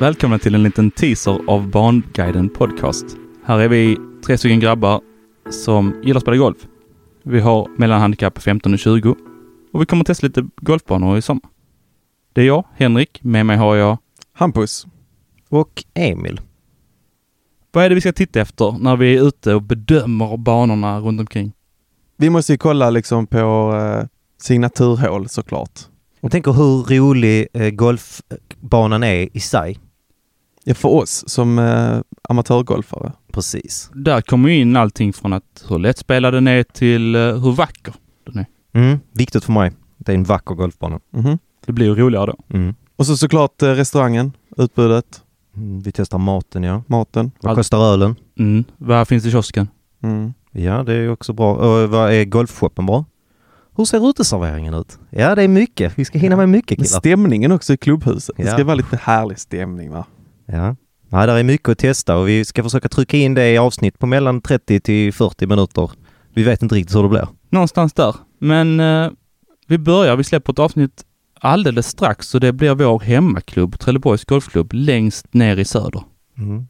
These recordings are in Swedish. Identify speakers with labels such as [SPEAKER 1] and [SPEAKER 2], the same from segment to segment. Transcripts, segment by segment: [SPEAKER 1] Välkomna till en liten teaser av Barnguiden Podcast. Här är vi tre stycken grabbar som gillar att spela golf. Vi har mellanhandikapp 15 och 20 och vi kommer att testa lite golfbanor i sommar. Det är jag, Henrik. Med mig har jag...
[SPEAKER 2] Hampus.
[SPEAKER 3] Och Emil.
[SPEAKER 1] Vad är det vi ska titta efter när vi är ute och bedömer banorna runt omkring?
[SPEAKER 2] Vi måste ju kolla liksom på eh, signaturhål såklart.
[SPEAKER 3] Jag tänker hur rolig eh, golfbanan är i sig.
[SPEAKER 2] Ja, för oss som eh, amatörgolfare.
[SPEAKER 3] Precis.
[SPEAKER 1] Där kommer ju in allting från att hur lättspelad den är till eh, hur vacker den är.
[SPEAKER 3] Mm, viktigt för mig. Det är en vacker golfbana.
[SPEAKER 2] Mhm.
[SPEAKER 1] Det blir ju roligare då.
[SPEAKER 3] Mm.
[SPEAKER 2] Och så såklart eh, restaurangen, utbudet,
[SPEAKER 3] Mm, Vi testar maten ja.
[SPEAKER 2] maten.
[SPEAKER 3] Vad
[SPEAKER 1] Allt.
[SPEAKER 3] kostar ölen?
[SPEAKER 1] Mm. Vad finns i kiosken?
[SPEAKER 2] Mm.
[SPEAKER 3] Ja, det är också bra. Och vad är golfshoppen bra? Hur ser uteserveringen ut? Ja, det är mycket. Vi ska hinna med mycket
[SPEAKER 2] Men
[SPEAKER 3] killar.
[SPEAKER 2] stämningen också i klubbhuset. Det ska
[SPEAKER 3] Ja.
[SPEAKER 2] vara lite härlig stämning va?
[SPEAKER 3] Ja. ja, där är mycket att testa och vi ska försöka trycka in det i avsnitt på mellan 30 till 40 minuter. Vi vet inte riktigt hur det blir.
[SPEAKER 1] Någonstans där. Men eh, vi börjar, vi släpper ett avsnitt alldeles strax så det blir vår hemmaklubb, Trelleborgs Golfklubb, längst ner i söder.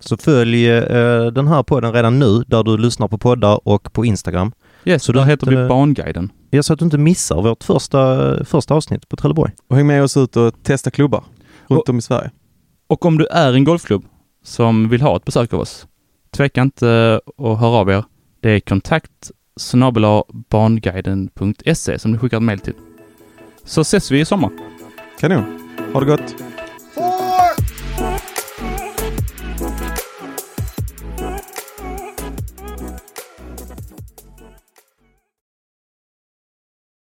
[SPEAKER 3] Så följ eh, den här podden redan nu där du lyssnar på poddar och på Instagram.
[SPEAKER 1] Yes, så
[SPEAKER 3] Så
[SPEAKER 1] där
[SPEAKER 3] då
[SPEAKER 1] heter
[SPEAKER 3] hittar
[SPEAKER 1] vi
[SPEAKER 3] du-
[SPEAKER 1] Barnguiden.
[SPEAKER 3] Ja, så att du inte missar vårt första, första avsnitt på Trelleborg.
[SPEAKER 2] Och häng med oss ut och testa klubbar runt
[SPEAKER 1] Och-
[SPEAKER 2] om i Sverige.
[SPEAKER 1] Och om du är en golfklubb som vill ha ett besök av oss, tveka inte eh, att höra av er. Det är kontakt snabel-a barnguiden.se som ni skickar ett mejl till. Så ses vi i sommar.
[SPEAKER 2] Kanon. Ha det gott.